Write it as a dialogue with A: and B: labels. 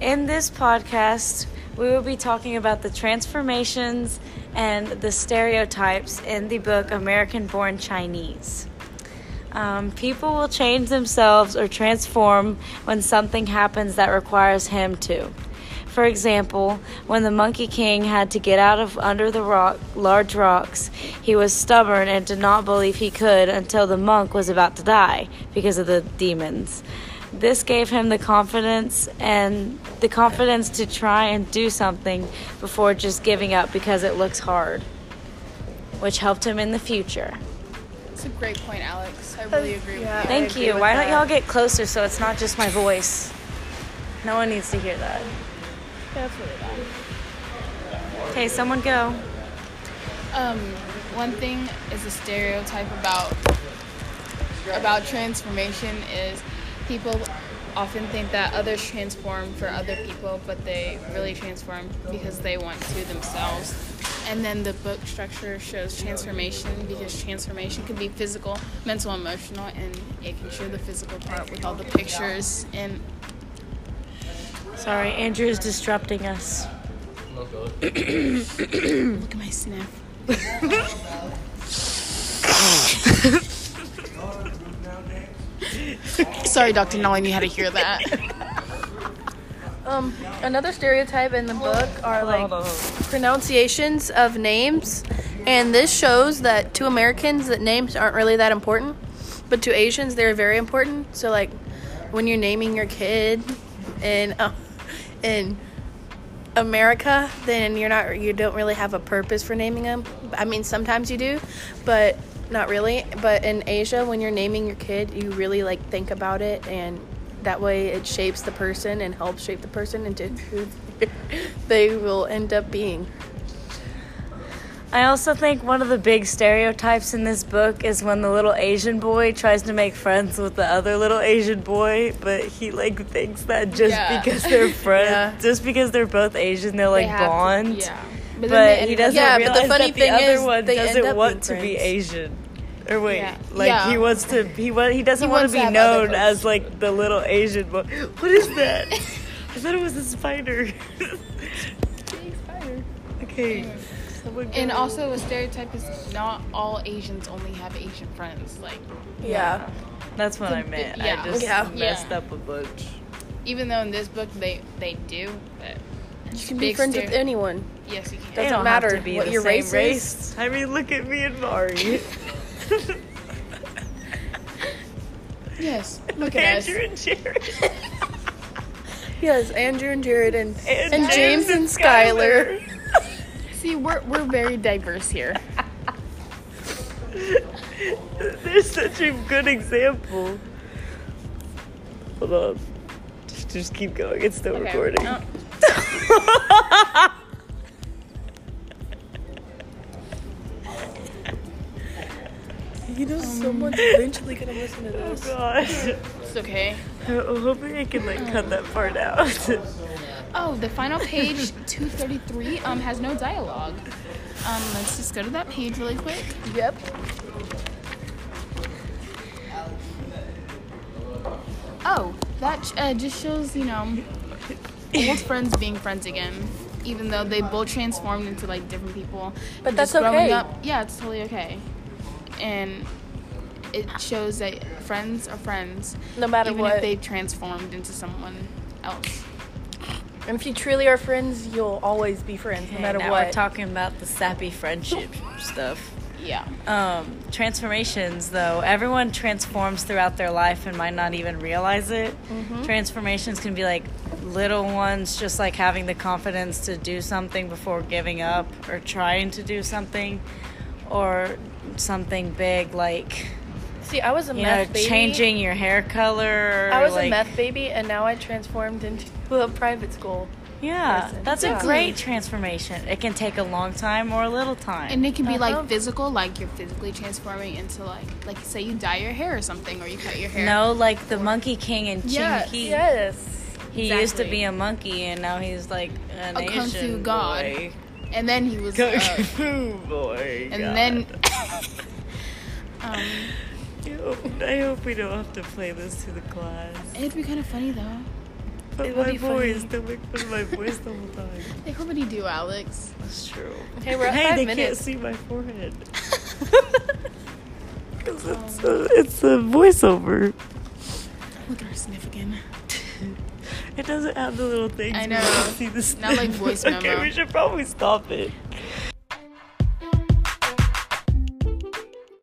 A: In this podcast, we will be talking about the transformations and the stereotypes in the book American Born Chinese. Um, people will change themselves or transform when something happens that requires him to. For example, when the Monkey King had to get out of under the rock, large rocks, he was stubborn and did not believe he could until the monk was about to die because of the demons. This gave him the confidence and the confidence to try and do something before just giving up because it looks hard, which helped him in the future.
B: It's a great point, Alex. I really agree with you.
A: Thank you. Why don't y'all get closer so it's not just my voice? No one needs to hear that.
B: That's really bad.
A: Okay, someone go.
B: Um, one thing is a stereotype about about transformation is people often think that others transform for other people, but they really transform because they want to themselves. And then the book structure shows transformation because transformation can be physical, mental, emotional, and it can show the physical part with all the pictures and
A: Sorry, Andrew is disrupting us.
B: look at my sniff. Sorry, Dr. Nolan, you had to hear that.
C: Um, another stereotype in the book are like pronunciations of names, and this shows that to Americans that names aren't really that important, but to Asians they're very important. So like, when you're naming your kid in uh, in America, then you're not you don't really have a purpose for naming them. I mean, sometimes you do, but not really. But in Asia, when you're naming your kid, you really like think about it, and that way it shapes the person and helps shape the person into who they will end up being.
A: I also think one of the big stereotypes in this book is when the little Asian boy tries to make friends with the other little Asian boy, but he like thinks that just
B: Yeah.
A: because they're friends,
C: Yeah.
A: just because they're both Asian, they're like
B: They have to-
A: bond.
B: Yeah.
A: But,
B: then they
A: he
B: end up-
A: doesn't
C: Yeah, but the
A: realize
C: funny
A: that the
C: thing
A: other
C: is
A: one
C: they end
A: doesn't
C: up
A: want to
C: being
A: be
C: friends.
A: Asian. Or wait,
B: Yeah.
A: like he
B: Yeah.
A: wants to he wa- he doesn't
B: He
A: want
B: wants
A: to
B: to
A: be
B: have other
A: known as
B: folks.
A: like the little Asian boy. What is that? I thought it was a spider. okay. Someone
B: And
A: go.
B: also, a stereotype is not all Asians only have Asian friends. Like,
C: Yeah.
A: That's what I meant.
B: yeah.
A: I just
C: Yeah.
A: messed
B: Yeah.
A: up a bunch.
B: even though in this book they they do, but
C: You can be
B: Big
C: friends with
B: stereo-
C: anyone.
B: yes, you can.
A: They
C: Doesn't
A: don't have
C: matter
A: to be
C: what
A: the
C: your
A: same
C: race is.
A: race. I mean, look at me and Mari.
B: Yes, look at us.
A: Andrew and Jerry.
C: Yes, Andrew and Jared and
A: And,
C: And James and Skylar.
B: See, we're we're very diverse here.
A: Skylar. They're such a good example. Hold on. Just, just keep going. It's still
B: Okay.
A: recording.
B: Oh,
C: you know someone's eventually gonna listen to
A: oh gosh.
B: it's okay.
A: I'm hoping I can like cut that part out.
B: Oh, the final page, 233, um, has no dialogue. Um, let's just go to that page really quick.
C: Yep.
B: Oh, that uh, just shows, you know, old friends being friends again. Even though they both transformed into like different people.
C: But
B: And
C: that's
B: just growing
C: okay.
B: Up, yeah, it's totally okay. And it shows that friends are friends.
C: No matter
B: even
C: what.
B: if they've transformed into someone else.
C: And if you truly are friends, you'll always be friends, no matter
A: now
C: what.
A: we're talking about the sappy friendship stuff.
B: Yeah.
A: um, transformations though everyone transforms throughout their life and might not even realize it
C: Mm-hmm.
A: transformations can be like little ones just like having the confidence to do something before giving up or trying to do something or something big like
C: See, I was a
A: you know
C: meth baby.
A: changing your hair color or,
C: I was
A: like-
C: a meth baby, and now I transformed into a private school.
A: yeah
C: person.
A: that's a
C: Yeah.
A: great transformation it can take a long time or a little time
B: And it can be
C: Uh-huh.
B: like physical, like you're physically transforming into like, like say you dye your hair or something, or you cut your hair.
A: no like the monkey king and
B: Yeah,
A: ching he
C: Yes.
A: He used to
B: Exactly.
A: be a monkey and now he's like an
B: A kung fu
A: Asian
B: god.
A: boy.
B: And then he was,
A: Kung
B: uh,
A: fu boy.
B: and
A: god.
B: then, um,
A: I hope- I hope we don't have to play this to the class.
B: it'd be kind of funny though.
D: But
C: It would
D: my
C: be
D: voice,
C: funny.
D: they make fun of my voice the whole time.
B: Like, what would he do, Alex?
D: That's true.
C: Okay, we're at
D: hey,
C: five
D: they
C: minutes.
D: can't see my forehead. 'Cause it's, a, it's a voiceover.
B: Look at her sniff again.
D: It doesn't have the little things.
B: I
D: where
B: know.
D: you can See the
B: Not like
D: sniff.
B: voice
D: okay,
B: memo.
D: we should probably stop it.